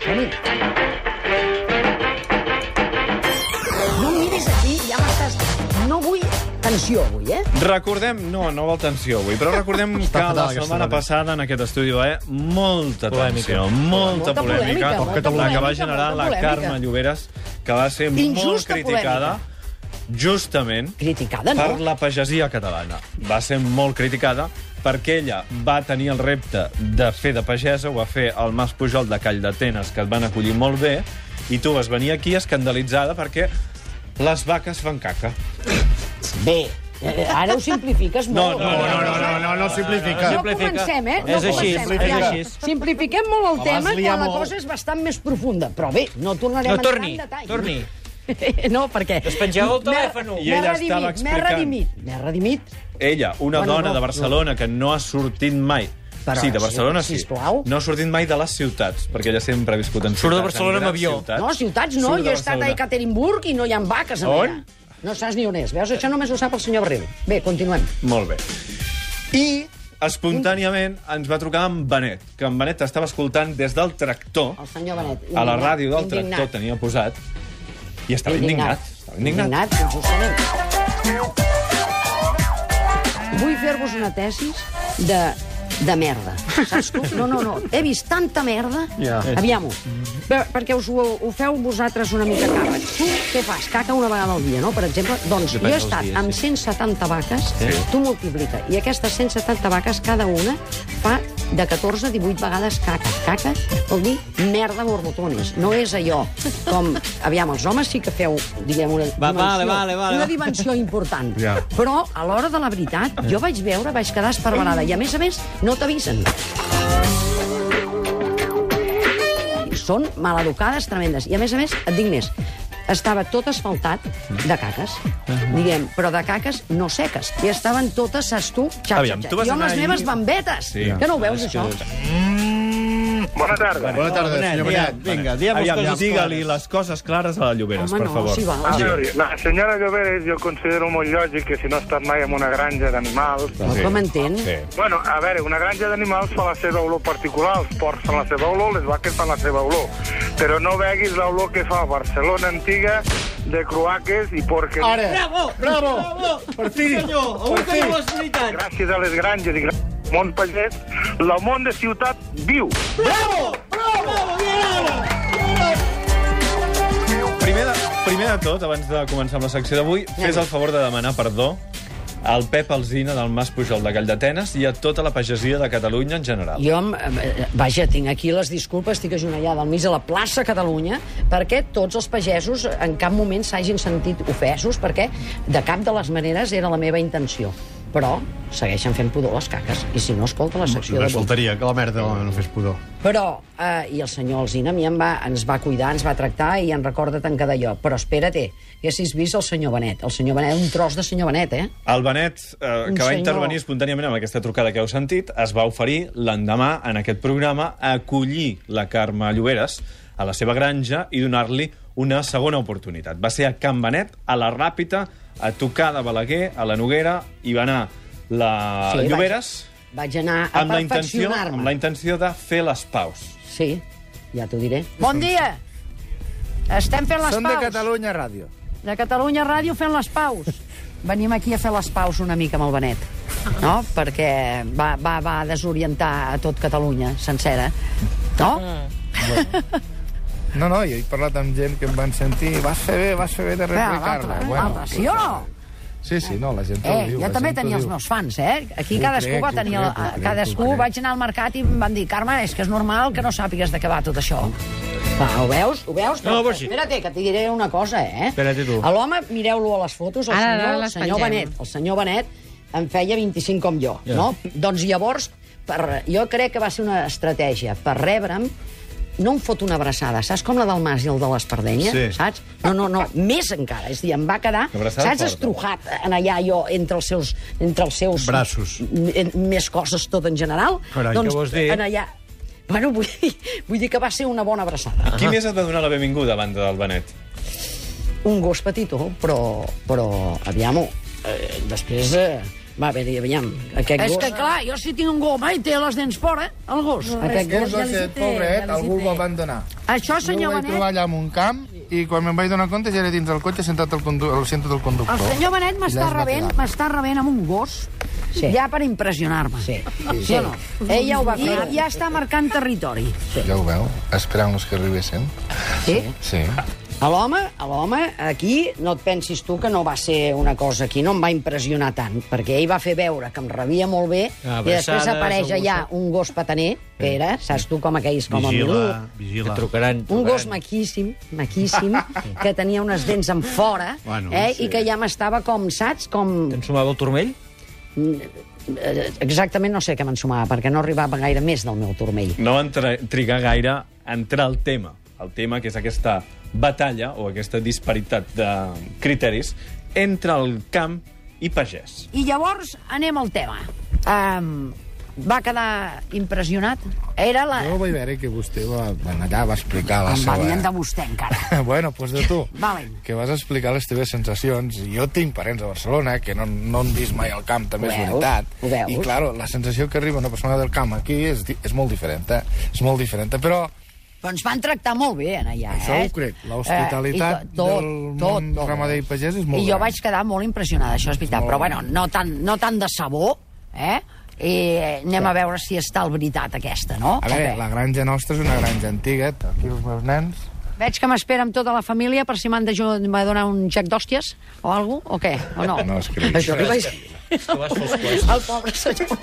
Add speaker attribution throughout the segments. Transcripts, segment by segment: Speaker 1: Som-hi. No em miris aquí, ja m'estàs... No vull tensió, avui, eh?
Speaker 2: Recordem, no, no vol tensió avui, però recordem que
Speaker 3: fatal
Speaker 2: la
Speaker 3: aquesta
Speaker 2: setmana
Speaker 3: setmana.
Speaker 2: passada en aquest estudi va haver molta
Speaker 3: Polèmica.
Speaker 2: tensió, molta,
Speaker 1: Molta polèmica, molta
Speaker 2: polèmica, la que
Speaker 1: polèmica,
Speaker 2: va generar
Speaker 1: molta
Speaker 2: la
Speaker 1: polèmica.
Speaker 2: Carme Lloberes, que va ser molt
Speaker 1: Injusta
Speaker 2: criticada, justament,
Speaker 1: Criticada, no?
Speaker 2: per la pagesia catalana. Va ser molt criticada perquè ella va tenir el repte de fer de pagesa, ho va fer el Mas Pujol de Call d'Atenes, que et van acollir molt bé, i tu vas venir aquí escandalitzada perquè les vaques fan caca.
Speaker 1: Bé, eh, ara ho simplifiques molt.
Speaker 2: no, no, no,
Speaker 3: no, no, no simplifica.
Speaker 1: No comencem, eh? No
Speaker 4: És així,
Speaker 1: comencem.
Speaker 4: és
Speaker 1: Aviam,
Speaker 4: així.
Speaker 1: Simplifiquem molt el
Speaker 3: vas
Speaker 1: tema,
Speaker 3: liar
Speaker 1: quan la
Speaker 3: molt.
Speaker 1: cosa és bastant més profunda. Però bé, no tornarem
Speaker 4: No,
Speaker 1: a entrar
Speaker 4: torni,
Speaker 1: en detall.
Speaker 4: torni.
Speaker 1: No, perquè...
Speaker 4: Despengeu el
Speaker 1: M'he-
Speaker 4: telèfon.
Speaker 2: I ella
Speaker 1: m'he
Speaker 2: estava
Speaker 1: redimit, M'he
Speaker 2: explicant.
Speaker 1: redimit, m'he redimit.
Speaker 2: Ella,
Speaker 1: Bueno,
Speaker 2: una bueno, dona
Speaker 1: no,
Speaker 2: no, de Barcelona no. que no ha sortit mai
Speaker 1: Però
Speaker 2: sí, de
Speaker 1: sí,
Speaker 2: Barcelona sí.
Speaker 1: sisplau.
Speaker 2: No ha sortit mai de les ciutats, perquè ella sempre ha viscut en ciutats.
Speaker 4: Surt de
Speaker 2: en
Speaker 4: Barcelona amb
Speaker 2: grans
Speaker 4: avió.
Speaker 2: Ciutats.
Speaker 1: No, ciutats no,
Speaker 2: Surt de
Speaker 1: jo he estat a
Speaker 2: Barcelona.
Speaker 1: Ekaterinburg i no hi ha vaques a
Speaker 2: On?
Speaker 1: allà. No saps ni on és. Veus, això només ho sap el senyor Barril. Bé, continuem.
Speaker 2: Molt bé. I, espontàniament, ens va trucar en Benet, que en Benet estava escoltant des del tractor,
Speaker 1: El senyor Benet.
Speaker 2: a la ràdio del
Speaker 1: indignat.
Speaker 2: tractor tenia posat, i estava indignat. Estava indignat.
Speaker 1: Indignat, doncs ho sabem. Vull fer-vos una tesis de, de merda. Saps tu? No, no, no. He vist tanta merda.
Speaker 3: Ja.
Speaker 1: Aviam-ho. Bé, Perquè us ho, ho feu vosaltres una mica càrrec. Tu què fas? Caca una vegada al dia, no? Per exemple, doncs jo he
Speaker 4: dels
Speaker 1: estat
Speaker 4: dies,
Speaker 1: amb 170 vaques, tu multiplica, i aquestes 170 vaques, cada una fa de 14 a 18 vegades caca. Caca vol dir merda borbotones. No és allò com... Aviam, els homes sí que feu, diguem, una
Speaker 4: Va,
Speaker 1: dimensió,
Speaker 4: vale, vale, vale.
Speaker 1: una dimensió important.
Speaker 2: Ja.
Speaker 1: Però, a l'hora de la veritat, jo vaig veure, vaig quedar esparverada. I, a més a més, no t'avisen. Són maleducades tremendes. I, a més a més, et dic més, estava tot asfaltat de caques, diguem, però de caques no seques. I estaven totes, saps tu, xap,
Speaker 2: Aviam,
Speaker 1: xap,
Speaker 2: tu
Speaker 1: xap.
Speaker 2: vas
Speaker 1: Jo amb
Speaker 2: anar
Speaker 1: les
Speaker 2: ahir-
Speaker 1: meves bambetes,
Speaker 2: Sí.
Speaker 1: que no ho veus, això?
Speaker 5: Bona tarda.
Speaker 3: Bona tarda, senyor Benet.
Speaker 4: Vinga, diem les
Speaker 2: Aviam,
Speaker 4: coses
Speaker 2: digue-li
Speaker 4: clares.
Speaker 2: les coses clares a la Lloberes,
Speaker 1: Home,
Speaker 2: per
Speaker 1: no,
Speaker 2: favor.
Speaker 1: si val.
Speaker 5: A
Speaker 1: Sí.
Speaker 5: veure, la senyora Lloberes jo considero molt lògic que si no ha estat mai en una granja d'animals...
Speaker 1: No, com entén?
Speaker 2: Sí.
Speaker 5: Bueno, a veure, una granja d'animals fa la seva olor particular, els porcs fan la seva olor, les vaques fan la seva olor. Però no veguis l'olor que fa Barcelona antiga de croaques i porques.
Speaker 3: Ara.
Speaker 4: Bravo!
Speaker 3: Bravo! Per fi!
Speaker 4: Senyor, avui
Speaker 3: Per fi!
Speaker 4: tenim les veritats.
Speaker 5: Gràcies a les granges i gràcies al món pagès, el món de ciutat viu.
Speaker 4: Bravo! Bravo! Bien, ara!
Speaker 2: Primer de, primer de tot, abans de començar amb la secció d'avui, fes el favor de demanar perdó al Pep Alzina del Mas Pujol de Gall d'Atenes i a tota la pagesia de Catalunya en general.
Speaker 1: Jo, eh, eh, vaja, tinc aquí les disculpes, estic ajonellada al mig de la plaça Catalunya perquè tots els pagesos en cap moment s'hagin sentit ofesos perquè de cap de les maneres era la meva intenció. Però segueixen fent pudor les caques i si no, escolta la secció
Speaker 3: Només
Speaker 1: de
Speaker 3: faltaria que la merda no fes pudor.
Speaker 1: Però, eh, i el senyor Alzina a mi em va, ens va cuidar, ens va tractar i en recorda tant cada lloc. Però espera't, haguessis vist el senyor Benet. El senyor Benet, un tros de senyor Benet, eh?
Speaker 2: El Benet, eh,
Speaker 1: Un
Speaker 2: que va
Speaker 1: senyor.
Speaker 2: intervenir espontàniament amb aquesta trucada que heu sentit, es va oferir l'endemà en aquest programa a acollir la Carme Lloberes a la seva granja i donar-li una segona oportunitat. Va ser a Can Benet, a la Ràpita, a tocar de Balaguer, a la Noguera, i va anar la
Speaker 1: Sí, vaig-
Speaker 2: Lloberes
Speaker 1: Vaig anar a
Speaker 2: amb la, intenció, amb la
Speaker 1: perfeccionar-me.
Speaker 2: intenció de fer les paus.
Speaker 1: Sí, ja t'ho diré. Bon dia! Estem fent les
Speaker 6: Són de Catalunya Ràdio.
Speaker 1: De Catalunya Ràdio fent les paus. Venim aquí a fer les paus una mica amb el Benet, no? Perquè va, va, va desorientar a tot Catalunya, sencera, no?
Speaker 6: No, no, jo he parlat amb gent que em van sentir vas fer bé, vas fer bé de
Speaker 1: Però l'altre,
Speaker 6: replicar-la.
Speaker 1: l'altre, sí o no?
Speaker 6: Sí, sí, no, la gent ho
Speaker 1: Eh,
Speaker 6: diu.
Speaker 1: jo
Speaker 6: la
Speaker 1: també
Speaker 6: gent ho
Speaker 1: tenia els
Speaker 6: diu.
Speaker 1: meus fans, eh? Aquí
Speaker 6: Ho
Speaker 1: cadascú
Speaker 6: crec,
Speaker 1: va
Speaker 6: ho
Speaker 1: tenir...
Speaker 6: crec,
Speaker 1: el-
Speaker 6: ho crec,
Speaker 1: Cadascú
Speaker 6: ho crec.
Speaker 1: vaig anar al mercat i em van dir Carme, és que és normal que no sàpigues de què va tot això. Va, ho veus? Ho veus?
Speaker 4: No, però sí.
Speaker 1: Espera't, que et diré una cosa, eh?
Speaker 4: Espera't tu.
Speaker 1: A l'home, mireu-lo a les fotos, el
Speaker 7: Ara,
Speaker 1: senyor,
Speaker 7: ara
Speaker 1: el
Speaker 7: les
Speaker 1: senyor
Speaker 7: pengem.
Speaker 1: Benet. El senyor Benet en feia 25 com jo, no? Doncs llavors, per, jo crec que va ser una estratègia per rebre'm no em fot una abraçada, saps com la del Mas i el de l'Espardenya,
Speaker 3: Sí.
Speaker 1: saps? No, no, no, més encara, és a dir, em va quedar,
Speaker 2: Una abraçada
Speaker 1: saps,
Speaker 2: forta.
Speaker 1: estrujat en allà jo entre els seus, entre els seus
Speaker 3: Braços.
Speaker 1: M- en- més coses tot en general. doncs,
Speaker 4: Carai, què vols dir?
Speaker 1: En allà... Bueno, vull dir, vull dir que va ser una bona abraçada.
Speaker 2: Qui més et va donar la benvinguda a banda del Benet?
Speaker 1: Un gos petitó, però, però aviam-ho. Eh, després eh, Va, bé, aviam. Aquest
Speaker 7: És
Speaker 1: gos...
Speaker 7: que, clar, jo si tinc un gos, mai té les dents fora, el gos.
Speaker 1: No. Aquest
Speaker 6: Aquest
Speaker 1: gos
Speaker 6: gosset, pobret, algú el va abandonar.
Speaker 7: Això,
Speaker 6: Jo el
Speaker 7: senyor
Speaker 6: vaig trobar
Speaker 7: Benet,
Speaker 6: allà en un camp i quan me'n vaig donar compte ja era dins del cotxe sentat al, condu al centre del conductor.
Speaker 7: el
Speaker 1: Oh,
Speaker 7: senyor Benet m'està
Speaker 6: Llàstima
Speaker 7: rebent,
Speaker 6: que
Speaker 7: m'està rebent amb un gos
Speaker 1: Sí.
Speaker 7: ja per impressionar-me.
Speaker 1: Sí.
Speaker 7: Sí o no?
Speaker 1: Ell ja ho va
Speaker 7: I
Speaker 1: fer.
Speaker 7: ja està marcant territori.
Speaker 6: Ja ho veu? Esperant-los que arribessin.
Speaker 1: Sí?
Speaker 6: Sí.
Speaker 1: A l'home, a l'home, aquí, no et pensis tu que no va ser una cosa aquí, no em va impressionar tant, perquè ell va fer veure que em rebia molt bé, i després
Speaker 4: Abraçades,
Speaker 1: apareix
Speaker 4: algú
Speaker 1: allà un gos pataner, que era, saps tu com aquells, com el Milú,
Speaker 3: Vigila,
Speaker 4: Que
Speaker 3: vigila.
Speaker 4: trucaran,
Speaker 1: un
Speaker 4: trucaran.
Speaker 1: gos maquíssim, maquíssim, que tenia unes dents en fora,
Speaker 3: Bueno,
Speaker 1: eh,
Speaker 3: sí.
Speaker 1: i que ja m'estava com, saps, com...
Speaker 4: T'ensumava el turmell?
Speaker 1: eh, Exactament no sé què m'ensumava, perquè no arribava gaire més del meu turmell.
Speaker 2: no van tra- trigar gaire a entrar al tema. El tema que és aquesta batalla o aquesta disparitat de criteris entre el camp i pagès.
Speaker 7: I llavors anem al tema. Um, va quedar impressionat. Era la...
Speaker 6: Jo vaig veure que vostè va, bueno, allà va explicar la
Speaker 7: Em va dient de
Speaker 6: seva...
Speaker 7: vostè, encara.
Speaker 6: Bueno, doncs de tu.
Speaker 7: Valen.
Speaker 6: Que vas explicar les teves sensacions. I Jo tinc parents a Barcelona eh, que no, no han vist mai al camp, també
Speaker 1: Ho
Speaker 6: és
Speaker 1: veus?
Speaker 6: veritat.
Speaker 1: Ho veus?
Speaker 6: I, claro, la sensació que arriba una persona del camp aquí és, di- és molt diferent, eh? És molt diferent, però...
Speaker 7: Però ens van tractar molt bé, en allà,
Speaker 6: Això
Speaker 7: eh?
Speaker 6: ho crec. L'hospitalitat
Speaker 7: Eh, i to-
Speaker 6: del món ramader i pagès és molt
Speaker 7: I jo
Speaker 6: gran.
Speaker 7: vaig quedar molt impressionada, això és veritat.
Speaker 6: Molt
Speaker 7: Però, bueno, no tant, no tant de sabó, eh? I anem a veure si és tal veritat aquesta, no?
Speaker 6: A veure,
Speaker 7: Ok.
Speaker 6: la granja nostra és una granja antiga. eh? Aquí els meus nens...
Speaker 7: Veig que m'espera amb tota la família per si m'han de ju- m'ha de donar un xec d'hòsties o alguna o què, o no?
Speaker 6: No, és que...
Speaker 1: Això que vaig...
Speaker 4: Que vas fer els cos.
Speaker 1: El pobre senyor.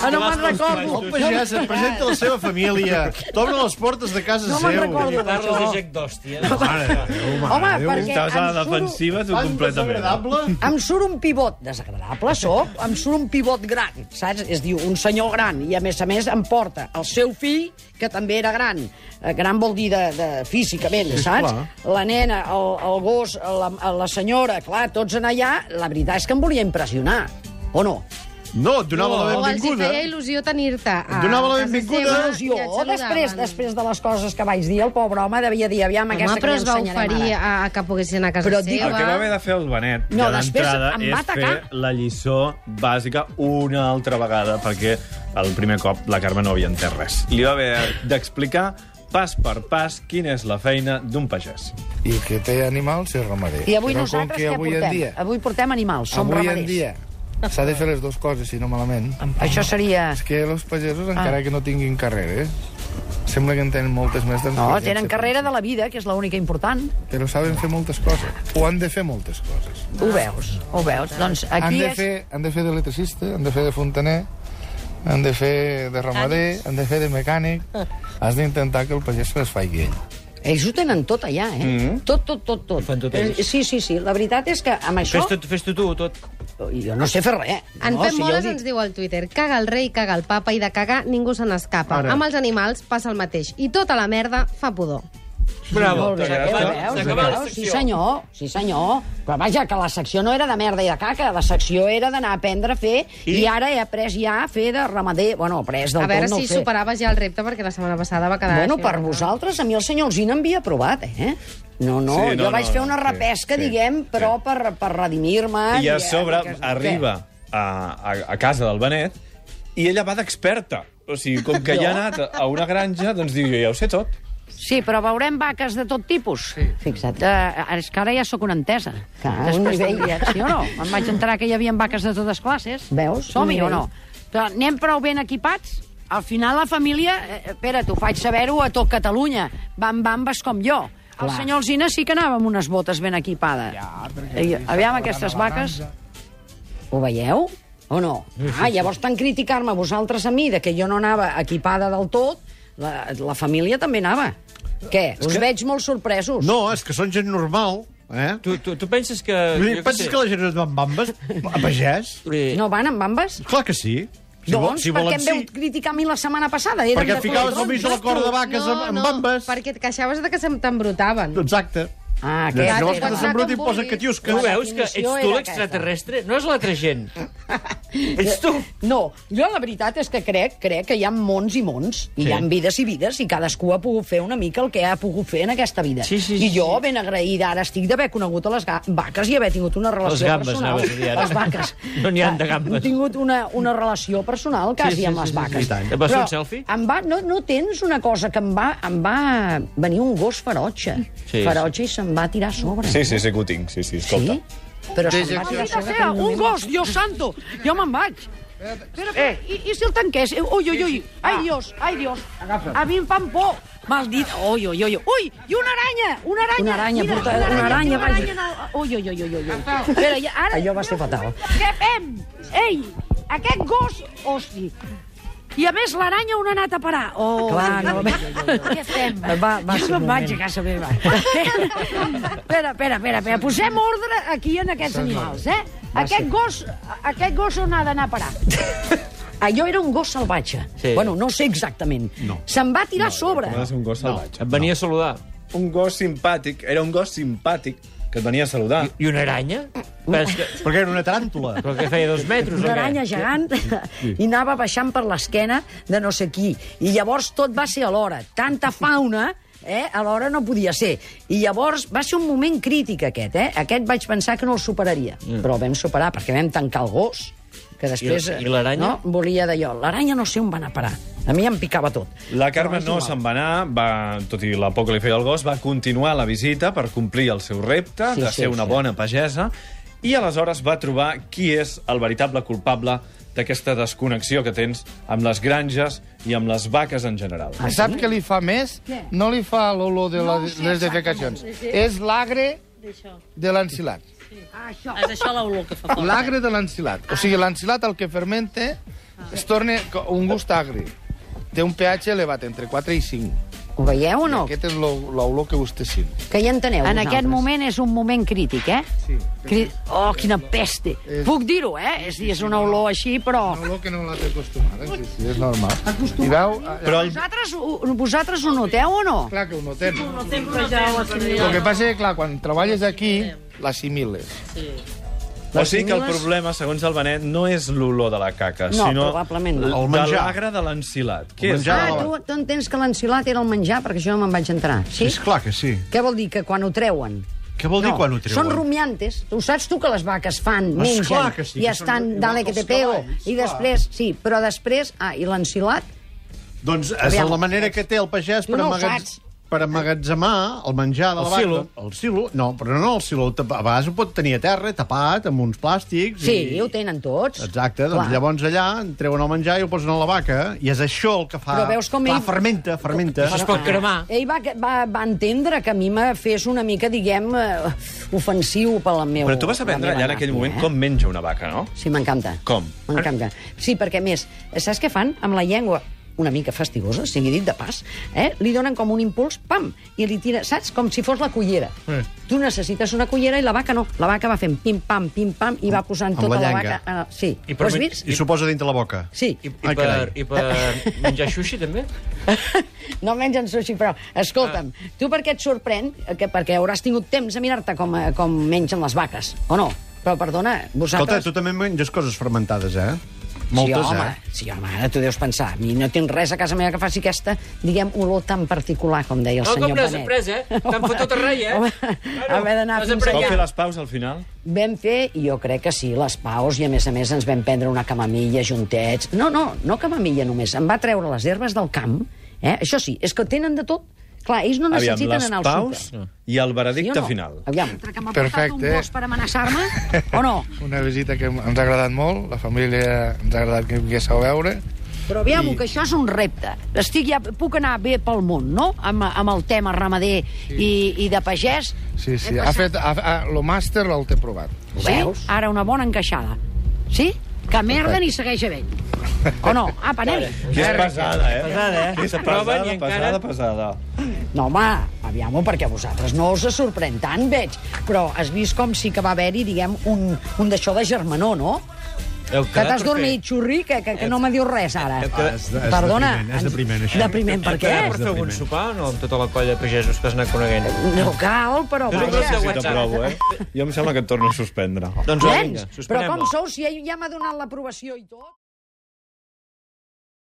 Speaker 1: Ah, no me'n recordo.
Speaker 3: El pagès et presenta la seva família, t'obre les portes de casa
Speaker 1: No me'n
Speaker 3: seu.
Speaker 1: recordo.
Speaker 4: Parles de Jack d'hòsties.
Speaker 3: Mare de Déu, mare
Speaker 1: Home,
Speaker 3: de Déu.
Speaker 1: perquè
Speaker 2: Estàs a
Speaker 1: em
Speaker 2: la
Speaker 1: suro-
Speaker 2: defensiva tu
Speaker 3: Tan
Speaker 2: completament. eh?
Speaker 3: desagradable.
Speaker 1: em surt un pivot desagradable, sóc, em surt un pivot gran, saps? Es diu un senyor gran i, a més a més, em porta el seu fill, que també era gran. Eh, Gran vol dir de, de físicament, saps? La nena, el, el gos, la, la senyora, clar, tots en allà. La veritat és que em volia impressionar, o no?
Speaker 3: No, et donava la
Speaker 8: O els hi
Speaker 3: benvinguda.
Speaker 8: feia il·lusió tenir-te. a
Speaker 3: Donava la
Speaker 8: casa
Speaker 3: benvinguda.
Speaker 8: seva i Ah, et
Speaker 1: Il·lusió.
Speaker 8: saludaven.
Speaker 1: Després, després de les coses que vaig dir, el pobre home devia dir, aviam,
Speaker 8: Home,
Speaker 1: aquesta
Speaker 8: però
Speaker 1: que
Speaker 8: es
Speaker 1: li
Speaker 8: va
Speaker 1: ensenyarem
Speaker 8: oferir
Speaker 1: ara.
Speaker 8: a, a que poguessin anar a casa
Speaker 1: Però
Speaker 8: però
Speaker 1: dic-
Speaker 8: seva.
Speaker 2: El que va haver de fer el Benet
Speaker 1: No,
Speaker 2: ja
Speaker 1: després
Speaker 2: d'entrada
Speaker 1: em va
Speaker 2: és fer
Speaker 1: atacar.
Speaker 2: la lliçó bàsica una altra vegada, perquè el primer cop la Carme no havia entès res. Li va haver d'explicar pas per pas quina és la feina d'un pagès.
Speaker 6: I el que té animals és ramader.
Speaker 1: I avui
Speaker 6: Però com
Speaker 1: nosaltres
Speaker 6: que
Speaker 1: què
Speaker 6: avui en
Speaker 1: portem?
Speaker 6: dia-
Speaker 1: Avui portem animals, som
Speaker 6: Avui
Speaker 1: ramaders.
Speaker 6: en dia s'ha de fer les dues coses, si no malament.
Speaker 1: Això seria...
Speaker 6: És que els pagesos,
Speaker 1: Ah.
Speaker 6: encara que no tinguin carreres, sembla que en tenen moltes més de
Speaker 1: No, tenen carrera de la vida, que és l'única important.
Speaker 6: Però saben fer moltes coses. O han de fer moltes coses.
Speaker 1: Ho veus, ho veus. Doncs
Speaker 6: han,
Speaker 1: aquí
Speaker 6: de
Speaker 1: és...
Speaker 6: fer, han de fer d'electricista, han de fer de fontaner, han de fer de ramader, han de fer de mecànic...
Speaker 1: Ah.
Speaker 6: Has d'intentar que el pagès se les faci ell.
Speaker 1: Ells ho tenen tot allà, eh? Mm
Speaker 4: Mm-hmm.
Speaker 1: -hmm. Tot, tot, tot, tot.
Speaker 4: Ho fan tot
Speaker 1: Eh,
Speaker 4: ells.
Speaker 1: Sí, sí, sí. La veritat és que amb això...
Speaker 4: Fes-te fes tu, tot.
Speaker 1: Jo no sé fer res.
Speaker 8: En
Speaker 1: no,
Speaker 8: Pep
Speaker 1: si
Speaker 8: Moles
Speaker 1: ja ho
Speaker 8: ens
Speaker 1: dic.
Speaker 8: diu al Twitter caga el rei, caga el papa i de cagar ningú se n'escapa.
Speaker 3: Ara.
Speaker 8: Amb els animals passa el mateix i tota la merda fa pudor.
Speaker 4: Bravo.
Speaker 1: Molt bé, eh, ho
Speaker 4: S'acaba-
Speaker 1: veus, ho
Speaker 4: s'acaba la
Speaker 1: veus? Sí,
Speaker 4: secció.
Speaker 1: senyor, sí, senyor. Però vaja, que la secció no era de merda i de caca, la secció era d'anar a aprendre a fer, i,
Speaker 4: I?
Speaker 1: i ara he après ja a fer de ramader. Bueno, après del
Speaker 8: a veure
Speaker 1: tot, no
Speaker 8: si
Speaker 1: ho sé.
Speaker 8: superaves ja el repte perquè la setmana passada va quedar...
Speaker 1: Bueno,
Speaker 8: així,
Speaker 1: per
Speaker 8: no?
Speaker 1: vosaltres, a mi el senyor Alzina em havia provat, eh? No, no,
Speaker 2: Sí,
Speaker 1: sí,
Speaker 2: no,
Speaker 1: no jo vaig
Speaker 2: no,
Speaker 1: fer una
Speaker 2: sí,
Speaker 1: repesca,
Speaker 2: sí,
Speaker 1: sí, diguem,
Speaker 2: sí.
Speaker 1: però per, per redimir-me...
Speaker 2: I a
Speaker 1: diguem,
Speaker 2: sobre
Speaker 1: perquè-
Speaker 2: arriba a, a, a casa del Benet i ella va d'experta. O sigui, com que ja ha anat a una granja, doncs diu, jo ja ho sé tot.
Speaker 7: Sí, però veurem vaques de tot tipus. Sí.
Speaker 1: Fixa't.
Speaker 7: Eh, és que ara ja sóc una entesa.
Speaker 1: Clar, un
Speaker 7: Després
Speaker 1: nivell.
Speaker 7: també, Sí o no? Em vaig enterar que hi havia vaques de totes classes.
Speaker 1: Veus?
Speaker 7: Som-hi
Speaker 1: Un nivell.
Speaker 7: o no? Però anem prou ben equipats? Al final la família, eh, espera, t'ho faig saber-ho a tot Catalunya, van bambes com jo. El
Speaker 1: Clar.
Speaker 7: senyor Alzina sí que anava amb unes botes ben equipades. Ja, Aviam aquestes vaques...
Speaker 1: Ho veieu? O no? Ah, llavors tant criticar-me vosaltres a mi de que jo no anava equipada del tot, la, la família també anava. Què? Us
Speaker 3: que-
Speaker 1: veig molt sorpresos.
Speaker 3: No, és que són gent normal, eh?
Speaker 4: Tu, tu, tu penses que...
Speaker 3: Vull dir,
Speaker 4: jo què
Speaker 3: penses
Speaker 4: sé,
Speaker 3: que la gent es van bambes? A pagès?
Speaker 4: eh,
Speaker 1: no van amb bambes?
Speaker 3: Clar que sí. Si vol-
Speaker 1: doncs,
Speaker 3: si
Speaker 1: per què
Speaker 3: volen
Speaker 1: em
Speaker 3: sí.
Speaker 1: veu criticar a mi la setmana passada? Érem
Speaker 3: Perquè
Speaker 1: de
Speaker 3: ficaves
Speaker 1: color
Speaker 3: al mig de la
Speaker 1: taronja.
Speaker 3: corda de vaques amb, amb bambes.
Speaker 8: perquè et queixaves de que se'm t'embrutaven.
Speaker 3: Exacte.
Speaker 1: Ah,
Speaker 3: Llavors,
Speaker 1: aquest...
Speaker 3: Llavors
Speaker 1: era-
Speaker 3: quan s'embruta i
Speaker 8: Com
Speaker 3: posa
Speaker 8: vulguis.
Speaker 3: catius
Speaker 4: Tu
Speaker 3: que...
Speaker 4: veus que ets
Speaker 1: definició
Speaker 4: tu
Speaker 1: era
Speaker 4: l'extraterrestre? No és l'altra gent. Ets tu.
Speaker 1: No, jo la veritat és que crec crec que hi ha mons i mons, i
Speaker 4: Sí.
Speaker 1: hi ha vides i vides, i cadascú ha pogut fer una mica el que ha pogut fer en aquesta vida.
Speaker 4: Sí, sí,
Speaker 1: I
Speaker 4: sí,
Speaker 1: jo,
Speaker 4: sí.
Speaker 1: ben agraïda, ara estic d'haver conegut a les ga- vaques i haver tingut una relació
Speaker 4: gambes,
Speaker 1: personal.
Speaker 4: anaves a dir ara.
Speaker 1: Les vaques.
Speaker 4: No n'hi ha de gambes.
Speaker 1: He tingut una, una relació personal quasi
Speaker 4: sí,
Speaker 1: amb les
Speaker 4: sí, sí,
Speaker 1: vaques.
Speaker 4: i tant. Et vas fer un selfie?
Speaker 1: Em va, no, no tens una cosa que em va, em va venir un gos ferotge.
Speaker 4: Sí.
Speaker 1: Ferotge i se'm va tirar a sobre.
Speaker 2: Sí, sí, sí que ho tinc, sí, sí, escolta.
Speaker 1: Sí? Però se'm va tirar a
Speaker 7: Maldita
Speaker 1: sobre.
Speaker 7: sea, un gos, Dios santo. Jo me'n vaig. Però, eh. i, I si el tanqués? Eh, Ui, ui, ui.
Speaker 1: Ah.
Speaker 7: Ai, Dios, ai, Dios. A mi em fan por. Maldita. Ui, ui, ui. Ui, i una aranya, una aranya.
Speaker 1: Una aranya,
Speaker 7: Mira,
Speaker 1: porta- una aranya,
Speaker 7: una
Speaker 1: vaja.
Speaker 7: aranya en el- Ui, ui, ui, ui, ui. Espera, ja, ara...
Speaker 1: Allò va ser fatal.
Speaker 7: Què fem? Ei, aquest gos, hosti. I a més l'aranya on ha anat a parar? Oh,
Speaker 1: Clar, no.
Speaker 7: Què fem?
Speaker 1: Va- va ser
Speaker 7: jo
Speaker 1: un
Speaker 7: me'n vaig
Speaker 1: moment.
Speaker 7: a casa meva. espera, espera, espera, espera. Posem ordre aquí en aquests animals, eh?
Speaker 1: Va
Speaker 7: Aquest
Speaker 1: ser.
Speaker 7: gos, aquest gos on ha d'anar a parar? Ah,
Speaker 1: Allò era un gos salvatge.
Speaker 4: Sí.
Speaker 1: Bueno, no sé exactament. No. Se'm va tirar a sobre.
Speaker 2: Com ha de ser un
Speaker 1: Ah.
Speaker 2: gos salvatge.
Speaker 4: Et venia a saludar.
Speaker 2: Un gos simpàtic, era un gos simpàtic que et venia a saludar.
Speaker 4: I una aranya? Però, és que,
Speaker 3: Perquè era una taràntula.
Speaker 4: però que feia dos metres o
Speaker 1: una
Speaker 4: què?
Speaker 1: aranya gegant i anava baixant per l'esquena de no sé qui. I llavors tot va ser alhora. Tanta fauna, eh, alhora no podia ser. I llavors va ser un moment crític aquest, eh? Aquest vaig pensar que no el superaria. Mm. Però el vam superar perquè vam tancar el gos que després...
Speaker 4: I- i l'aranya?
Speaker 1: No, volia d'allò. L'aranya no sé on va anar a parar. A mi em picava tot.
Speaker 2: La Carme
Speaker 1: Però és
Speaker 2: no
Speaker 1: igual.
Speaker 2: se'n va anar, va, tot i la por que li feia el gos, va continuar la visita per complir el seu repte
Speaker 1: Sí,
Speaker 2: sí, de
Speaker 1: sí,
Speaker 2: ser una
Speaker 1: sí.
Speaker 2: bona pagesa i aleshores va trobar qui és el veritable culpable d'aquesta desconnexió que tens amb les granges i amb les vaques en general.
Speaker 9: Ah,
Speaker 6: Sap què li fa més? Què? No li fa l'olor de la, les defecacions. És l'agre de l'encilat.
Speaker 9: És això l'olor que fa fort.
Speaker 6: L'agre de l'encilat. O sigui, l'encilat, el que fermenta,
Speaker 9: Ah.
Speaker 6: es torna co- un gust agre. Té un pH elevat, entre 4 i 5.
Speaker 1: Ho veieu o no?
Speaker 6: Aquest és l'o- l'olor que vostè sent.
Speaker 1: Que hi enteneu,
Speaker 7: En
Speaker 1: vosaltres?
Speaker 7: aquest moment és un moment crític, eh?
Speaker 6: Sí.
Speaker 7: Cri... Oh, quina peste. Puc dir-ho, eh? És, és una olor així, però...
Speaker 6: Una olor que no la té acostumada, sí, sí, és normal. I veu, eh,
Speaker 2: Però el,
Speaker 7: Vosaltres, ho- vosaltres ho noteu o no?
Speaker 6: clar que ho notem.
Speaker 9: Sempre ja ho assimilem.
Speaker 6: El que passa és que, clar, quan treballes aquí, l'assimiles.
Speaker 2: o sigui que el problema, segons el Benet, no és l'olor de la caca,
Speaker 1: No,
Speaker 2: sinó
Speaker 1: probablement no.
Speaker 2: l-
Speaker 3: El
Speaker 2: de
Speaker 3: menjar.
Speaker 2: l'agre de l'encilat. Què
Speaker 3: El
Speaker 2: és?
Speaker 3: menjar.
Speaker 1: Ah, tu, tu entens que l'encilat era el menjar, perquè jo no me'n vaig entrar. Sí?
Speaker 3: És clar que sí.
Speaker 1: Què vol dir? Que quan ho treuen.
Speaker 3: Què vol dir quan ho treuen? Ah,
Speaker 1: Són rumiantes. Tu saps tu que les vaques fan,
Speaker 3: Esclar
Speaker 1: mengen,
Speaker 3: que sí,
Speaker 1: i
Speaker 3: que són
Speaker 1: estan
Speaker 3: igual
Speaker 1: dale
Speaker 3: que
Speaker 1: que te
Speaker 3: els
Speaker 1: pego.
Speaker 3: cavalls,
Speaker 1: I
Speaker 3: clar.
Speaker 1: després, sí, però després... Ah, i l'encilat?
Speaker 3: Doncs és
Speaker 1: Aviam.
Speaker 3: la manera que té el pagès
Speaker 1: Tu
Speaker 3: per,
Speaker 1: no ho
Speaker 3: amagatz...
Speaker 1: saps.
Speaker 3: per emmagatzemar el menjar de la
Speaker 4: El
Speaker 3: vaca.
Speaker 4: silo.
Speaker 3: El silo. No, però no el silo. tap- A vegades ho pot tenir a terra, tapat, amb uns plàstics.
Speaker 1: Sí,
Speaker 3: i...
Speaker 1: ho tenen tots.
Speaker 3: Exacte, doncs
Speaker 1: Clar.
Speaker 3: llavors allà en treuen el menjar i ho posen a la vaca, i és això el que fa...
Speaker 1: Però veus com
Speaker 3: Clar,
Speaker 1: ell-
Speaker 3: fermenta, fermenta.
Speaker 4: Es pot cremar.
Speaker 1: Ah, Ell va, va, va entendre que a mi me fes una mica, diguem, eh, ofensiu per la meva...
Speaker 2: Però tu vas aprendre
Speaker 1: Ah, la meva
Speaker 2: allà en aquell
Speaker 1: nàpia,
Speaker 2: moment
Speaker 1: eh?
Speaker 2: com menja una vaca, no?
Speaker 1: Sí, m'encanta.
Speaker 2: Com?
Speaker 1: M'encanta. Sí, perquè, a més, saps què fan? Amb la llengua una mica fastigosa, sigui dit de pas, eh? li donen com un impuls, pam, i li tira, saps? Com si fos la cullera.
Speaker 3: Eh.
Speaker 1: Mm. Tu necessites una cullera i la vaca no. La vaca va fent pim-pam, pim-pam, i va posant
Speaker 3: Amb
Speaker 1: tota
Speaker 3: la
Speaker 1: la,
Speaker 3: llenga.
Speaker 1: vaca... En el... Sí,
Speaker 4: I
Speaker 1: ho has
Speaker 4: permet-
Speaker 1: vist?
Speaker 3: I s'ho posa dintre la boca.
Speaker 1: Sí.
Speaker 4: I,
Speaker 3: Ai,
Speaker 4: i, per,
Speaker 3: carai.
Speaker 4: I per menjar xuxi, també?
Speaker 1: No mengen sushi, però escolta'm,
Speaker 3: Ah.
Speaker 1: tu per què et sorprèn? Que, perquè hauràs tingut temps a mirar-te com, eh, com mengen les vaques, o no? Però, perdona,
Speaker 3: Escolta,
Speaker 1: vosaltres...
Speaker 3: tu també menges coses fermentades, eh? Moltes,
Speaker 1: sí, home,
Speaker 3: eh?
Speaker 1: Sí, home, ara tu deus pensar. A mi no tinc res a casa meva que faci aquesta, diguem, olor tan particular, com deia el
Speaker 4: No,
Speaker 1: senyor
Speaker 4: com l'has
Speaker 1: Benet.
Speaker 4: après, eh? T'han fotut arrei, eh?
Speaker 1: Home,
Speaker 4: Bueno,
Speaker 1: haver d'anar
Speaker 4: l'has
Speaker 1: fins...
Speaker 4: après.
Speaker 2: Vau
Speaker 4: Ja.
Speaker 2: fer les paus al final?
Speaker 1: Vam fer, i jo crec que sí, les paus, i a més a més ens vam prendre una camamilla juntets. No, no, no camamilla només. Em va treure les herbes del camp, eh? Això sí, és que tenen de tot. Clar, ells no
Speaker 2: Aviam,
Speaker 1: necessiten
Speaker 2: les
Speaker 1: anar al
Speaker 2: paus
Speaker 1: súper.
Speaker 2: i el veredicte
Speaker 1: o no?
Speaker 2: final.
Speaker 1: Aviam.
Speaker 7: Que m'ha portat un
Speaker 6: Perfecte.
Speaker 7: gos per amenaçar-me, o no?
Speaker 6: Una visita que ens ha agradat molt, la família ens ha agradat que vinguéssiu a veure.
Speaker 7: Però aviam, que això és un repte. Estic ja, puc anar bé pel món, no? Amb, amb el tema ramader sí. i, i de pagès. Eh,
Speaker 6: Sí, sí, ha fet... Ha, ha, lo màster el té provat.
Speaker 7: Ho
Speaker 1: veus?
Speaker 7: Ara una bona encaixada. Sí? Que merden i segueix a vell. O no? Ah, Apa, anem
Speaker 2: Que és pesada, eh?
Speaker 4: Pesada, eh?
Speaker 2: Que és
Speaker 4: Proven
Speaker 2: pesada,
Speaker 4: i encara-
Speaker 2: pesada, pesada.
Speaker 1: No, home, aviam perquè a vosaltres no us sorprèn tant, veig. Però has vist com sí que va haver-hi, diguem, un, un d'això de germanor, no?
Speaker 4: Heu
Speaker 1: Que
Speaker 4: quedat
Speaker 1: t'has
Speaker 4: per
Speaker 1: dormit, xurri, que, que, que no me dius res ara. Perdona.
Speaker 3: depriment, és depriment, això.
Speaker 1: Depriment, per
Speaker 4: Heu
Speaker 1: què?
Speaker 4: quedat per fer algun sopar o no, amb tota la colla de pagesos que has anat coneguent?
Speaker 1: No cal, però
Speaker 4: No, no,
Speaker 1: vaja.
Speaker 4: no,
Speaker 2: Si t'aprovo, eh? Jo em sembla que et torno a suspendre.
Speaker 4: Doncs va, vinga,
Speaker 1: Nens, però
Speaker 4: suspenem-la.
Speaker 1: com sou si ja ja m'ha donat l'aprovació i tot?